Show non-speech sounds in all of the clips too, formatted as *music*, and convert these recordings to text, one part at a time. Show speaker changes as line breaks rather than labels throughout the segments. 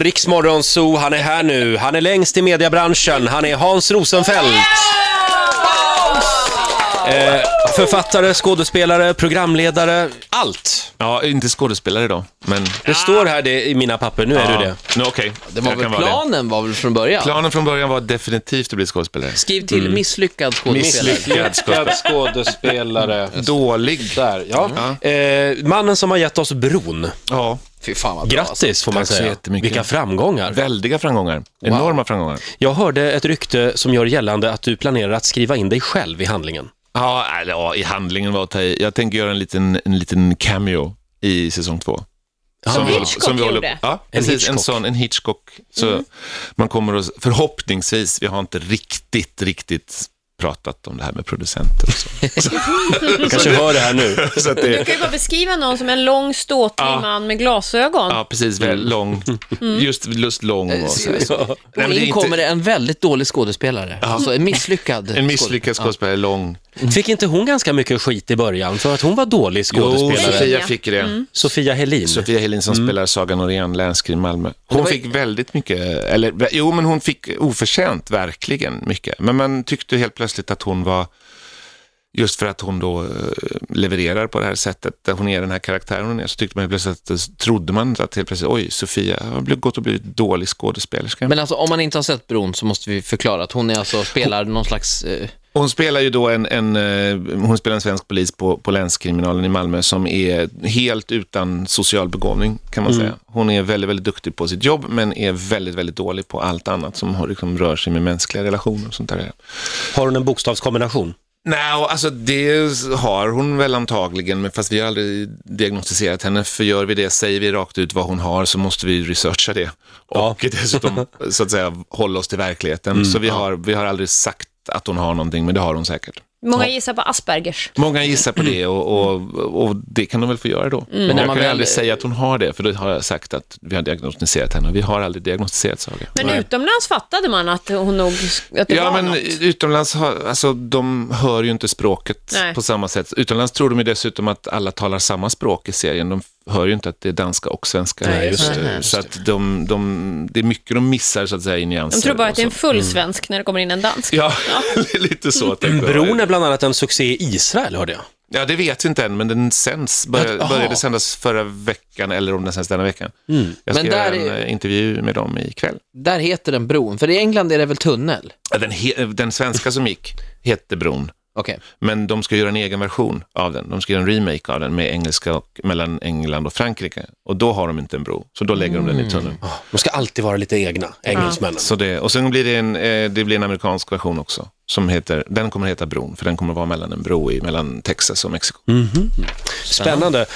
Riksmorgon Zoo, han är här nu. Han är längst i mediebranschen. Han är Hans Rosenfeldt. Eh, författare, skådespelare, programledare, allt.
Ja, inte skådespelare då, men...
Det står här det i mina papper, nu är du det.
Nu, Okej,
Det var
jag
väl
kan vara det.
planen var väl från början?
Planen från början var definitivt att bli skådespelare.
Skriv till
Mm.
misslyckad skådespelare.
Misslyckad skådespelare.
skådespelare.
Dålig.
Där, Mm. ja. Eh, mannen som har gett oss bron.
Ja,
Fy fan vad bra. alltså.
Grattis får man
Tack så
säga.
jättemycket.
Vilka framgångar.
väldiga framgångar. Enorma framgångar.
Jag hörde ett rykte som gör gällande att du planerar att skriva in dig själv i handlingen.
Ja, eller, ja, i handlingen var att ta i. Jag tänker göra en liten, en liten cameo i säsong två.
Som
vi håller-
Hitchcock
vi håller-
gjorde.
Ja, precis. En,
Hitchcock.
sån, en Hitchcock. Så man kommer att, förhoppningsvis, vi har inte riktigt, riktigt pratat om det här med producenter och så.
Du kanske
Mm.
hör det här nu.
så att det,
Du kan ju bara beskriva någon som en lång ståtlig man med glasögon.
ja, precis. Väldigt lång. Just, just lång och så. här. Nej, men
Och
det är
in
inte-
kommer det en väldigt dålig skådespelare. Alltså en misslyckad.
En misslyckad skådespelare, lång.
Fick inte hon ganska mycket skit i början för att hon var dålig
Jo,
skådespelare?
Sofia fick det.
Sofia Helin.
Sofia Helin som spelar Saga Norén, länskrim Malmö. Hon fick väldigt mycket, eller jo men hon fick oförtjänt verkligen mycket. Men man tyckte helt plötsligt att hon var, just för att hon då eh, levererar på det här sättet, där hon är den här karaktären hon är, så tyckte man helt plötsligt att, trodde man att helt plötsligt, oj Sofia har blivit- gått och blivit dålig skådespelerska.
Men alltså om man inte har sett Bron så måste vi förklara att hon är alltså spelar någon slags... Eh,
Hon spelar ju då en, en, eh, hon spelar en svensk polis på, på länskriminalen i Malmö som är helt utan social begåvning kan man säga. Hon är väldigt, väldigt duktig på sitt jobb men är väldigt, väldigt dålig på allt annat som har, liksom, rör sig med mänskliga relationer och sånt där.
Har hon en bokstavskombination?
Nej, och alltså det har hon väl antagligen, men fast vi har aldrig diagnostiserat henne. För gör vi det, säger vi rakt ut vad hon har så måste vi researcha det. Och dessutom så att säga hålla oss till verkligheten. så vi, har, vi har aldrig sagt att hon har någonting, men det har hon säkert.
Många gissar på Aspergers.
Många gissar på det och, och, och det kan de väl få göra
Mm.
då.
när
Men jag
man
kan
väl-
aldrig säga att hon har det, för då har jag sagt att vi har diagnostiserat henne och vi har aldrig diagnostiserat Saga.
Men utomlands fattade man att hon nog, att det
Ja,
var
men
något.
utomlands har, alltså, de hör ju inte språket
Nej.
på samma sätt. Utomlands tror de ju dessutom att alla talar samma språk i serien. De hör ju inte att det är danska och svenska.
Nej,
just
Så att de, de, det är mycket de missar så att säga i nyanser.
De tror bara att det är en
och så.
full svensk när det kommer in en dansk.
Mm. Ja, *laughs* det är lite så. tänker jag.
Bron är bland annat en succé i Israel, hörde jag.
Ja, det vet vi inte än, men den sänds, började,
Jaha.
började sändas förra veckan eller om den sänds denna veckan. Jag ska
Men
göra
där
en
är-
eh, intervju med dem ikväll.
där heter den Bron, för i England är det väl tunnel?
Ja, Den, he- eh, den svenska som gick hette Bron,
Okej.
men de ska göra en egen version av den. De ska göra en remake av den med engelska och mellan England och Frankrike. Och då har de inte en bro, så då lägger de den i tunneln.
De ska alltid vara lite egna, engelsmännen.
Så det, och sen blir det, en, eh, det blir en amerikansk version också. Som heter, den kommer heta Bron, för den kommer vara mellan en bro i, mellan Texas och Mexiko.
Spännande.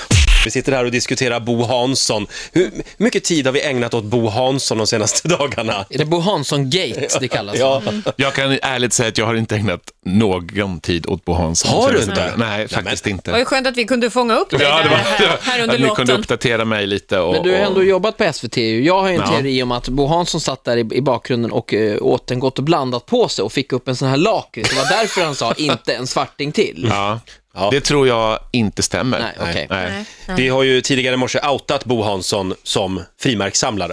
Vi sitter här och diskuterar Bo Hansson. Hur mycket tid har vi ägnat åt Bo Hansson de senaste *laughs* dagarna?
Är det Bo Hansson-gate det kallas?
Ja.
Jag kan ärligt säga att jag har inte ägnat någon tid åt Bo Hansson.
Har du
Så-
inte?
Nej, faktiskt
Det var ju
inte.
skönt att vi kunde fånga upp dig
Ja,
där,
det var,
här, här under
att ni kunde
låten.
uppdatera mig lite. Och,
Men du har ändå
och,
jobbat på SVT ju. Jag har ju en
Ja.
teori om att Bo Hansson satt där i, i bakgrunden och eh, åt en gott och blandat på sig och fick upp en sån här lakrits. Det var därför han
*laughs*
sa inte en svarting till.
ja, Det tror jag inte stämmer.
Nej, okej.
Nej.
Nej,
Vi har ju tidigare i morse outat Bo Hansson som frimärkssamlare.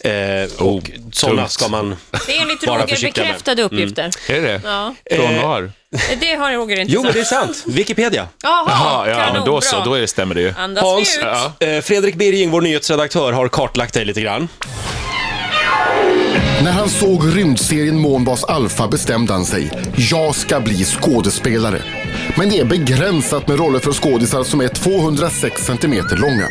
Eh, och sådana
tungt.
ska man...
Det är enligt
Bara
Roger
försiktiga med.
Mm.
bekräftade uppgifter.
Är det
Ja.
Från var?
Det har Roger inte
Jo, men
sagt.
det är sant. Wikipedia.
Jaha,
Jaha, ja,
kanon,
men då så,
bra.
då är det, stämmer det ju.
Andas
Hans,
vi ut.
ja.
eh, Fredrik Birging, vår nyhetsredaktör, har kartlagt dig lite grann.
När han såg rymdserien Månbas Alpha bestämde han sig. Jag ska bli skådespelare. Men det är begränsat med roller för skådisar som är 206 centimeter långa.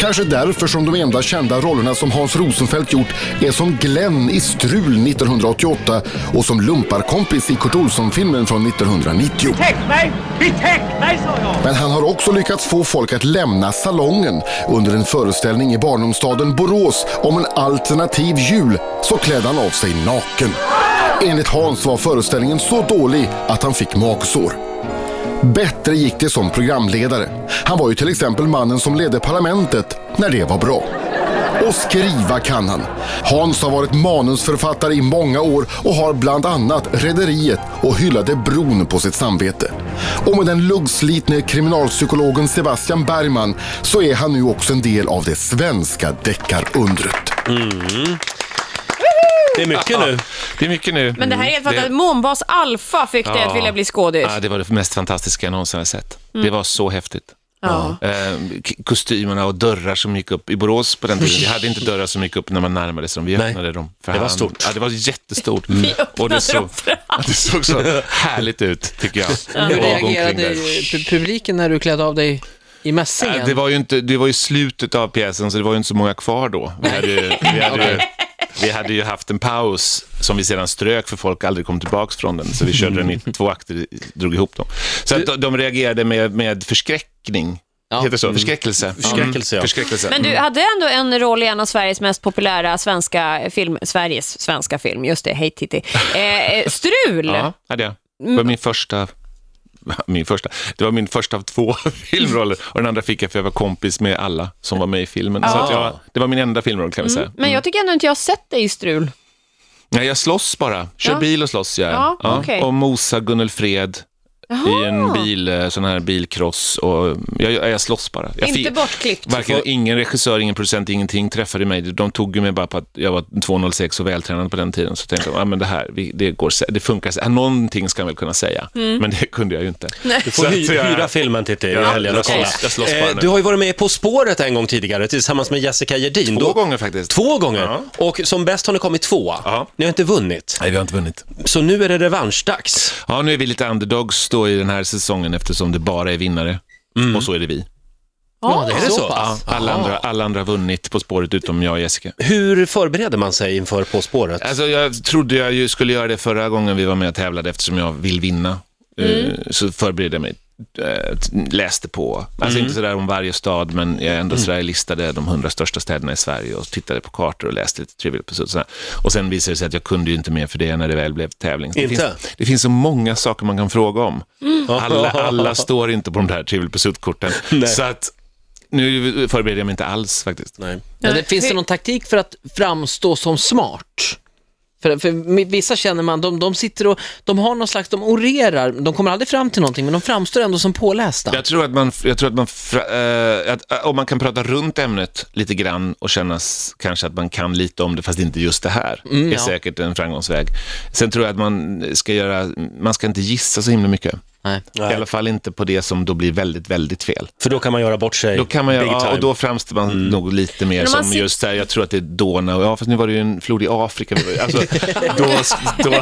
Kanske därför som de enda kända rollerna som Hans Rosenfeldt gjort är som Glenn i Strul 1988 och som lumparkompis i Kurt Olsson-filmen från 1990.
Täck mig! Vi täck mig, sa jag!
Men han har också lyckats få folk att lämna salongen. Under en föreställning i barndomsstaden Borås om en alternativ jul så klädde han av sig naken. Enligt Hans var föreställningen så dålig att han fick magsår. Bättre gick det som programledare. Han var ju till exempel mannen som ledde parlamentet när det var bra. Och skriva kan han. Hans har varit manusförfattare i många år och har bland annat Rederiet och Hyllade bron på sitt samvete. Och med den luggslitne kriminalpsykologen Sebastian Bergman så är han nu också en del av det svenska deckarundret.
Det är mycket nu.
Det är mycket nu.
Men det här är helt fantastiskt. Månbas Alfa fick dig att vilja bli skådis.
Mm. Ja, det var det mest fantastiska jag någonsin har sett. Det var så häftigt.
Ja.
Eh, k- kostymerna och dörrar som gick upp. I Borås på den tiden, vi hade inte dörrar som gick upp när man närmade sig dem. Vi
Nej.
öppnade dem för
Det var
hand.
stort.
Ja, det var jättestort.
Mm. Vi öppnade
Och det såg,
dem för hand.
*laughs* det såg så härligt ut, tycker jag.
Hur
Och gå omkring
reagerade eh,
där.
pu- publiken när du klädde av dig i mässingen?
Äh, Det var, ju inte, det var ju slutet av pjäsen, så det var ju inte så många kvar då. Vi hade ju, vi hade ju, vi hade ju haft en paus som vi sedan strök, för folk aldrig kom tillbaka från den. Så vi körde den i två akter, drog ihop dem. Så att de- de reagerade med, med förskräckning.
Ja.
Heter det så? Förskräckelse.
Förskräckelse, ja.
Förskräckelse.
Men du hade ändå en roll i en av Sveriges mest populära svenska film, Sveriges svenska film, just det, hej Titti. Eh, eh, strul!
Ja, hade jag. Det var min första... *laughs* Min första. Det var min första av två *laughs* filmroller och den andra fick jag för jag var kompis med alla som var med i filmen. Så att jag, det var min enda filmroll kan vi säga.
Men jag tycker ändå inte jag har sett dig i strul.
Nej, jag slåss bara. Kör
Ja.
bil och slåss gör jag.
Ja, okej.
Och mosar Gunnel Fred i en bil, eh, sån här bilkross. Och jag, jag, jag slåss bara. Jag
Inte
fi-
bortklippt.
Varken ingen regissör, ingen producent, ingenting träffade mig. De tog ju mig bara på att jag var 2,06 och vältränad på den tiden. Så tänkte jag, ah, men det här, vi, det, går, sä- det funkar. sä- Någonting ska jag väl kunna säga.
Mm.
Men det kunde jag ju inte.
Du får
Så att
hy-
jag-
hyra filmen Titti i
Ja,
helgen och
jag
kolla.
slåss- jag slåss bara
Eh,
nu.
Du har ju varit med På spåret en gång tidigare tillsammans med Jessica Jedin.
Två
Då-
gånger faktiskt.
Två gånger.
Ja.
Och som bäst har ni kommit tvåa.
Ja.
Ni har inte vunnit.
Nej, vi har inte vunnit.
Så nu är det revanschdags.
Ja, nu är vi lite underdogs då i den här säsongen eftersom det bara är vinnare. Och så är det vi.
ja, det är
det
Ah, så,
så?
pass.
Alla andra, alla andra har vunnit På spåret utom jag och Jessica.
Hur förbereder man sig inför På spåret?
Alltså, jag trodde jag ju skulle göra det förra gången vi var med och tävlade eftersom jag vill vinna.
Mm.
Eh, Så förberedde jag mig, eh, t- läste på. Alltså inte sådär om varje stad, men jag ändå sådär listade de hundra största städerna i Sverige och tittade på kartor och läste lite Trivial Pursuit. sådär. Och sen visade det sig att jag kunde ju inte mer för det när det väl blev tävling. Så Det,
Inte?
finns, det finns så många saker man kan fråga om.
Mm. *laughs*
Alla, alla står inte på de där Trivial Pursuit-korten. Så att nu förbereder jag mig inte alls faktiskt.
Nej.
Men det, finns det någon taktik för att framstå som smart? För, för med- vissa känner man, de, de sitter och, de har någon slags, de orerar, de kommer aldrig fram till någonting, men de framstår ändå som pålästa.
Jag tror att man, jag tror att man, fra- eh, att, eh, om man kan prata runt ämnet lite grann och kännas kanske att man kan lite om det, fast inte just det här,
Mm,
är
ja.
säkert en framgångsväg. Sen tror jag att man ska göra, man ska inte gissa så himla mycket.
Nej.
I alla fall inte på det som då blir väldigt, väldigt fel.
För då kan man göra bort sig
Då kan man ju,
big
ja,
time. Mm.
och då framstår man nog lite mer
Men om man
som
sit-
just där, jag tror att det är Dona, och ja, fast nu var det ju en flod i Afrika. vi var i. Alltså, då,
*laughs*
då,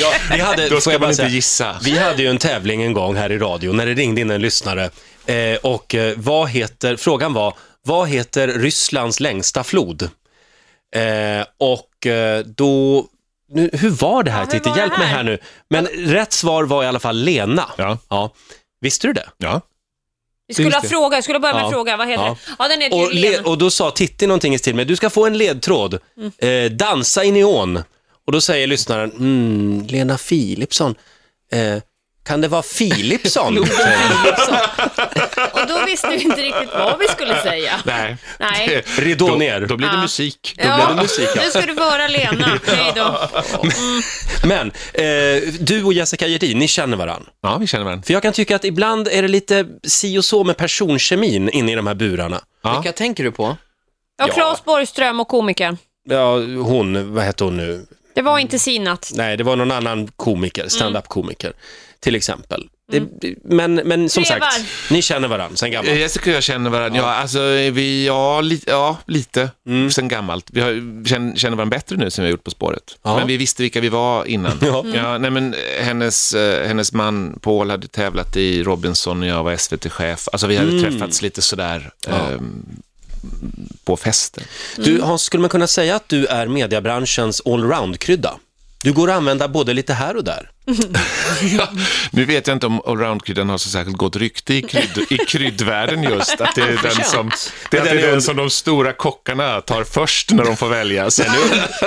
Ja, vi hade,
Då ska
får jag
man
bara
inte
säga,
gissa.
Vi hade ju en tävling en gång här i radio när det ringde in en lyssnare. Eh, och eh, vad heter, frågan var, vad heter Rysslands längsta flod? Eh, och eh, då, nu, hur var det här
hur
Titti?
var det
Hjälp mig
här?
här nu. Men rätt svar var i alla fall Lena.
Ja.
Visste du det?
ja.
Vi skulle
Just
ha
det.
fråga, jag skulle börja med
Ja.
fråga, vad heter
Ja.
det? Ja, den heter
Och,
ju
le,
Lena.
och då sa Titti någonting i stil med, du ska få en ledtråd. Eh, dansa i neon. Och då säger lyssnaren, mm, Lena Philipsson. Eh, kan det vara
*laughs*
Philipsson? Eh,
Och då visste vi inte riktigt vad vi skulle säga.
Nej.
Nej.
Det-
Ridå
då,
ner.
Då blir det
Ja.
musik. Då
Ja,
blir det musik.
nu ska du vara Lena. Hej då.
Men eh, du och Jessica Jedin, ni känner varann.
Ja, vi känner varandra.
För jag kan tycka att ibland är det lite si och så med personkemin inne i de här burarna.
Ja.
Vilka tänker du på?
Ja, Claes Borgström och komikern.
Ja, hon, vad hette hon nu?
Det var inte sinat.
Nej, det var någon annan
Mm.
komiker, stand-up-komiker, till exempel. Det, men, men som
Trevar.
sagt, ni känner varann sen
Eh,
gammalt.
Jessica och jag känner varandra, ja, alltså, vi, ja, li, ja lite,
Mm.
sen gammalt. Vi har, känner, känner varandra bättre nu sen vi har gjort På spåret.
Ja.
Men vi visste vilka vi var innan.
*laughs* Ja. Mm.
Ja, nej, men, eh, hennes, eh, hennes man Paul hade tävlat i Robinson när jag var SVT-chef. Alltså, vi hade
Mm.
träffats lite sådär ehm, på festen.
Du, Hans, skulle man kunna säga att du är mediebranschens allround-krydda? Du går att använda både lite här och där.
Ja, nu vet jag inte om allroundkryddan har så särskilt gott rykte i, krydd,
*laughs*
i kryddvärlden just. Att det är den som, det är
den
den,
är
den
und-
som de stora kockarna tar först när de får välja.
*laughs*
Så nu,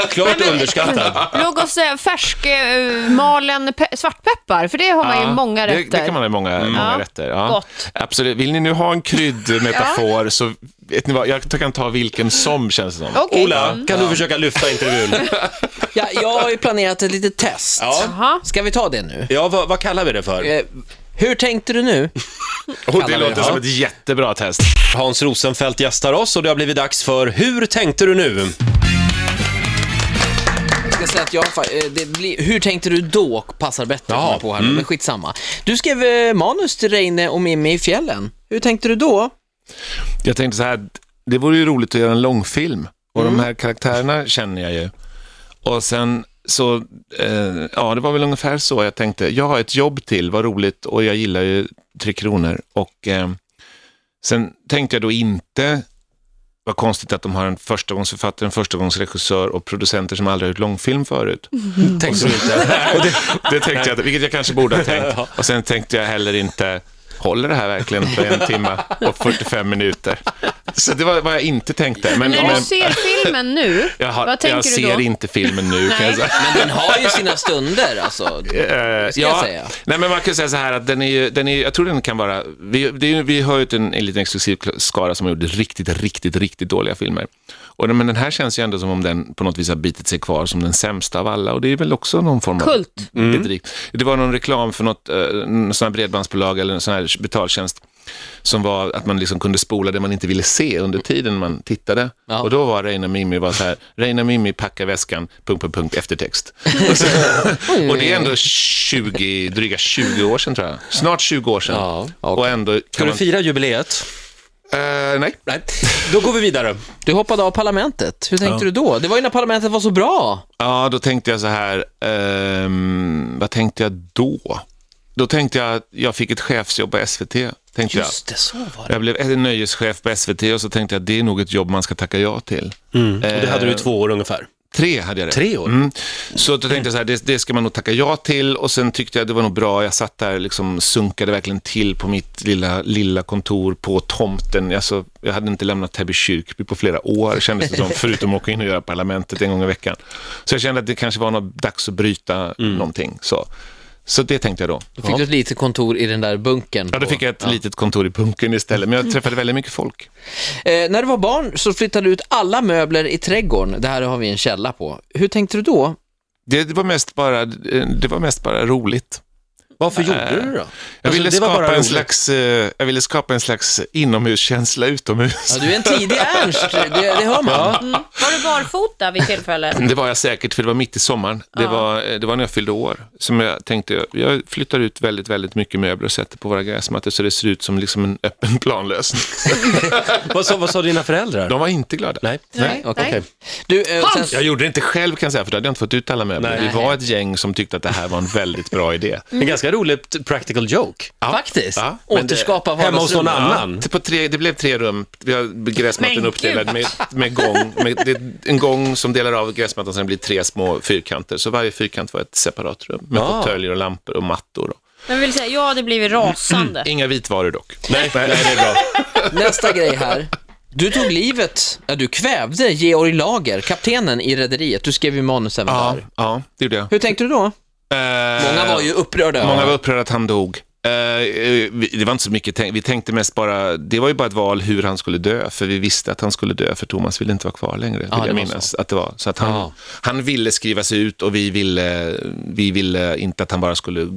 Klart underskattad.
Låg oss eh, färsk eh, malen pe- svartpeppar, för det har man ju många
det-
rätter. Mm.
Det kan man ha i många, många
Ja,
rätter. Ja.
gott.
Absolut. Vill ni nu ha en
*laughs*
kryddmetafor så vet ni vad, jag kan ta vilken som känns det som.
Okej.
Ola, kan du försöka lyfta intervjun? *laughs*
Ja, jag har ju planerat ett litet test.
Ja.
Jaha.
Ska vi ta det nu?
Ja, vad, vad kallar vi det för?
Eh, Hur tänkte du nu?
Och det
Kallar vi
låter
det.
som ett jättebra test.
Hans Rosenfeldt gästar oss och det har blivit dags för Hur tänkte du nu?
Jag ska säga att jag, fa- eh, det blir, hur tänkte du då passar bättre
Ja,
kommer jag på här nu, men skitsamma. Du skrev eh, manus till Reine och Mimmi i fjällen. Hur tänkte du då?
Jag tänkte så här, det vore ju roligt att göra en långfilm. Och
Mm.
de här karaktärerna känner jag ju. Och sen så, eh, ja det var väl ungefär så jag tänkte. Jag har ett jobb till, vad roligt, och jag gillar ju Tre Kronor. Och eh, sen tänkte jag då inte, vad konstigt att de har en förstagångsförfattare, en förstagångsregissör och producenter som aldrig har gjort långfilm förut.
Tänkte Mm. du inte?
*laughs* Och det, det tänkte jag, inte, vilket jag kanske borde ha tänkt. Och sen tänkte jag heller inte, håller det här verkligen för en timme och 45 minuter? Så det var vad jag inte tänkte. Men,
När
men
du ser
*laughs*
filmen nu,
jag, har,
vad tänker
jag
du då?
ser inte filmen nu kan jag säga.
Men den har ju sina stunder alltså.
Eh,
ska jag säga.
Nej, men man kan säga så här att den är, ju- den är, ju- jag tror den kan vara, vi, det är, ju- vi har ju en, en liten exklusiv skara som har gjort riktigt, riktigt, riktigt dåliga filmer. Och, den- men den här känns ju ändå som om den på något vis har bitit sig kvar som den sämsta av alla och det är väl också någon form av
Kult.
bedrift. Det var någon reklam för något eh, sån här bredbandsbolag eller en sån här betaltjänst som var att man liksom kunde spola det man inte ville se under tiden man tittade.
Ja.
Och då var Reina Mimi bara så här, Reina Mimi packar väskan, punkt, punkt, punkt,
*laughs*
eftertext. Och, så, och det är ändå 20, dryga 20 år sedan tror jag. Snart 20 år sedan.
Ja,
Och ändå kan
Ska du
man...
fira jubileet? Eh.
Eh, nej.
Nej. Då går vi vidare.
Du hoppade av parlamentet. Hur tänkte du då? Det var ju när parlamentet var så bra.
Ja, då tänkte jag så här, ehm, vad tänkte jag då? Då tänkte jag att jag fick ett chefsjobb på SVT. Tänkte jag.
Just det, så var det.
Jag blev nöjeschef på SVT och så tänkte jag att det är nog ett jobb man ska tacka ja till.
Och det hade du i två år ungefär.
Tre hade jag det.
Tre år?
Mm. Så då tänkte jag så här, det, det ska man nog tacka ja till och sen tyckte jag det var nog bra, jag satt där liksom sunkade verkligen till på mitt lilla, lilla kontor på tomten. Alltså, jag hade inte lämnat Täby kyrkby på flera år, kändes det som, förutom att åka in och göra Parlamentet en gång i veckan. Så jag kände att det kanske var något, dags att bryta någonting. Så. så det tänkte jag då.
Då fick du ett litet kontor i den där bunkern.
Ja, då
på-
fick jag ett litet kontor i bunkern istället, men jag träffade väldigt mycket folk.
Eh, när du var barn så flyttade du ut alla möbler i trädgården. Det här har vi en källa på. Hur tänkte du då?
Det, det, var mest bara, det var mest bara roligt.
Varför gjorde du det då?
Jag
Alltså,
ville,
det var bara
skapa en
roligt.
slags, eh, jag ville skapa en slags inomhuskänsla utomhus.
Ja, du är en tidig Ernst, det, det hör man.
Mm. Var du barfota
*laughs*
vid tillfället?
Det var jag säkert, för det var mitt i sommaren. Det, var, eh, det var när jag fyllde år. Som jag tänkte, jag- jag flyttar ut väldigt, väldigt mycket möbler och sätter på våra gräsmattor så det ser ut som liksom en öppen *laughs* planlösning.
Vad sa, vad sa dina föräldrar?
De var inte glada.
Nej.
Nej,
okej. Du, eh, sen,
Jag gjorde det inte själv kan jag säga, för då hade jag inte fått ut alla möbler.
Nej.
Vi var ett gäng som tyckte att det här var en väldigt bra idé.
En ganska rolig t- practical joke.
faktiskt,
Ja, men det-
återskapa
Hemma hos någon
vardagsrummet.
annan.
Ja, typ på tre, det blev tre rum. Vi har
Men
gräsmattan
gud.
uppdelad med, med gång. Med, det är en gång som delar av gräsmattan, sen blir det tre små fyrkanter. Så varje fyrkant var ett separat rum med
Ah.
fåtöljer och lampor och mattor.
Men vi vill säga, jag hade blivit rasande.
Inga vitvaror dock.
Nej, nej, det är bra.
Nästa grej här. Du tog livet, ja, du kvävde Georg Lager, kaptenen i Rederiet. Du skrev ju manus även
Ja,
där.
ja det gjorde jag.
Hur tänkte du då?
Eh,
Många var ju upprörda.
Många var upprörda att han dog. Eh, eh, vi- det var inte så mycket, tänk- vi tänkte mest bara, det var ju bara ett val hur han skulle dö, för vi visste att han skulle dö, för Thomas ville inte vara kvar längre, vill
det
jag
var
minnas att det var. Så att han,
Ja.
han ville skriva sig ut och vi ville, vi ville inte att han bara skulle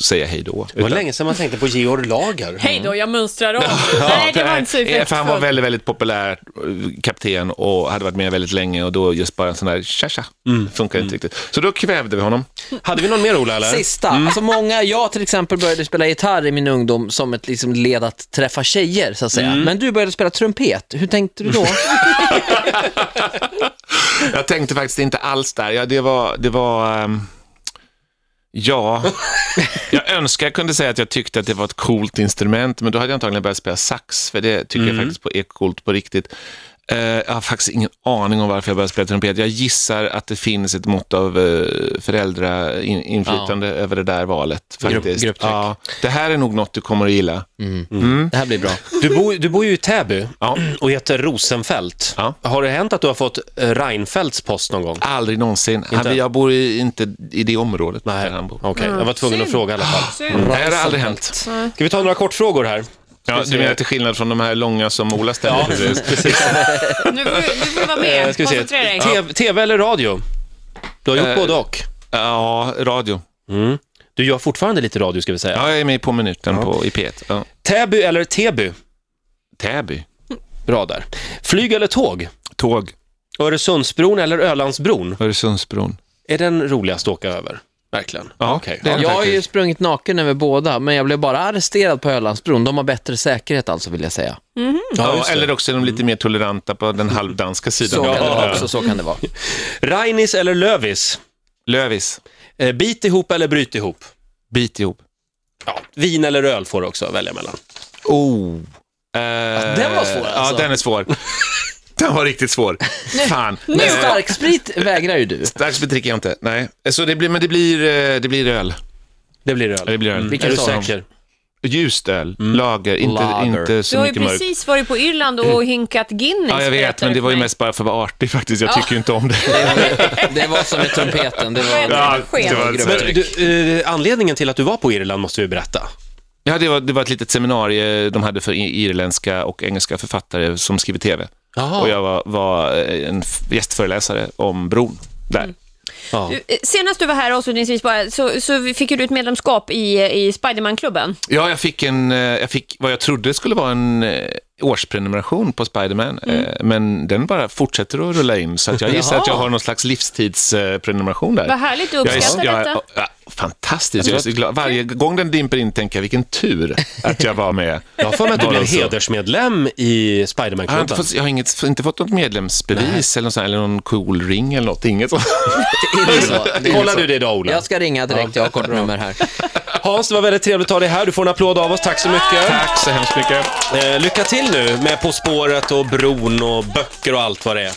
säga hej då.
Det var länge sedan man tänkte på Georg Lager.
Hej då, jag
*laughs*
mönstrar om. Nej, det var inte så
eh, För han var
effektfullt.
väldigt, väldigt populär eh, kapten och hade varit med väldigt länge och då just bara en sån där tja-tja,
Mm.
funkar inte riktigt. Så då kvävde vi honom.
Hade vi någon mer Ola, eller?
Sista. Alltså många, jag till exempel började spela gitarr i min ungdom som ett liksom led att träffa tjejer, så att säga. Men du började spela trumpet. Hur tänkte du då?
Jag tänkte faktiskt inte alls där. Ja, det var... Det var ehm, Ja, jag önskar jag kunde säga att jag tyckte att det var ett coolt instrument, men då hade jag antagligen börjat spela sax, för det tycker jag faktiskt på är coolt på riktigt. Eh, jag har faktiskt ingen aning om varför jag började spela trumpet. Jag gissar att det finns ett mått av eh, föräldrainflytande över det där valet. Faktiskt.
grupptryck.
Ja, det här är nog något du kommer att gilla.
Det här blir bra.
Du, bor, du bor ju i Täby
Ja.
och heter Rosenfeldt.
Ja.
Har det hänt att du har fått eh, Reinfeldts post någon gång?
Aldrig någonsin. Han, jag bor i, inte i det området där han bor.
Okej, jag
Ah,
var tvungen att
Synd.
fråga i alla fall.
Synd.
Ah. Nej, det har aldrig hänt.
Ska vi ta några kortfrågor här?
Ja, du menar till skillnad från de här långa som Ola ställer? precis.
Nu får du- nu får du vara
Eh,
med.
ska vi se.
Koncentrera dig.
Eh.
TV, TV eller radio? Du har gjort både och.
Ja, radio.
Du gör fortfarande lite radio, ska vi säga.
Ja, jag är med På minuten på, i P1. Ja.
Täby eller Täby?
Täby.
Bra där. Flyg eller tåg?
Tåg.
Öresundsbron eller Ölandsbron?
Öresundsbron.
Är den roligast att åka över? Verkligen.
Ja,
Okej.
det är den
Jag har
faktiskt.
ju sprungit naken över båda, men jag blev bara arresterad på Ölandsbron. De har bättre säkerhet alltså, vill jag säga.
Ja,
Ja,
just det.
eller också är de lite mer toleranta på den halvdanska
Så
sidan.
kan det
Ja.
vara också, så kan det vara.
Rainis eller Lövis?
Lövis.
Eh, bit ihop eller bryt ihop?
Bit ihop.
Ja, vin eller öl får du också välja mellan.
Oh.
den var svår, alltså.
Ja, den är svår. *laughs* den var riktigt svår. Fan. Eh,
Men starksprit vägrar ju du.
Starksprit dricker jag inte. Nej. Så det blir, men det blir, eh, det blir öl.
Det blir öl. Mm.
Ja, Det blir öl.
Är
Vilken
du
sa de?
säker?
Ljust öl. Lager. Inte,
Lager.
inte så
Du har ju
mycket mörk.
precis varit på Irland och hinkat Guinness.
Ja, jag vet,
berättade
men det
du
var ju
för mig.
mest bara för att vara artig faktiskt. Jag tycker ju inte om det.
Det var som med trumpeten. Det var...
Ja, sken.
det var,
Men du, eh, anledningen till att du var på Irland måste vi berätta.
Ja, det var, det var ett litet seminarium de hade för i- irländska och engelska författare som skriver tv.
Jaha.
Och jag var, var eh, en f- gästföreläsare om bron där.
Mm.
Ja.
Du, eh, Senast du var här avslutningsvis bara, så, så vi fick ju du ett medlemskap i, eh, i Spiderman-klubben.
Ja, jag fick, en, eh, jag fick vad jag trodde skulle vara en eh, årsprenumeration på Spiderman,
Mm.
eh, men den bara fortsätter att rulla in, så att jag gissar att jag har någon slags livstidsprenumeration där.
Vad härligt, du
Jag är-
uppskattar
jag är-
detta. Alltså,
ja, Fantastiskt. Jag är så glad. Varje gång den dimper in tänker jag, vilken tur att jag var med.
Jag har för mig att du
Bara
blev
så.
hedersmedlem i
Jag har, inte
Spiderman-klubben.
fått, jag har inget, inte fått något medlemsbevis eller, något sånt, eller någon cool ring eller något. Inget sånt.
Det är så. Det är
Kollar
så.
du det idag, Ola?
Jag ska ringa direkt, jag har kortnummer här.
Hans, det var väldigt trevligt att ha dig här. Du får en applåd av oss. Tack så mycket.
Tack så hemskt mycket.
Eh, lycka till nu med På spåret och bron och böcker och allt vad det är.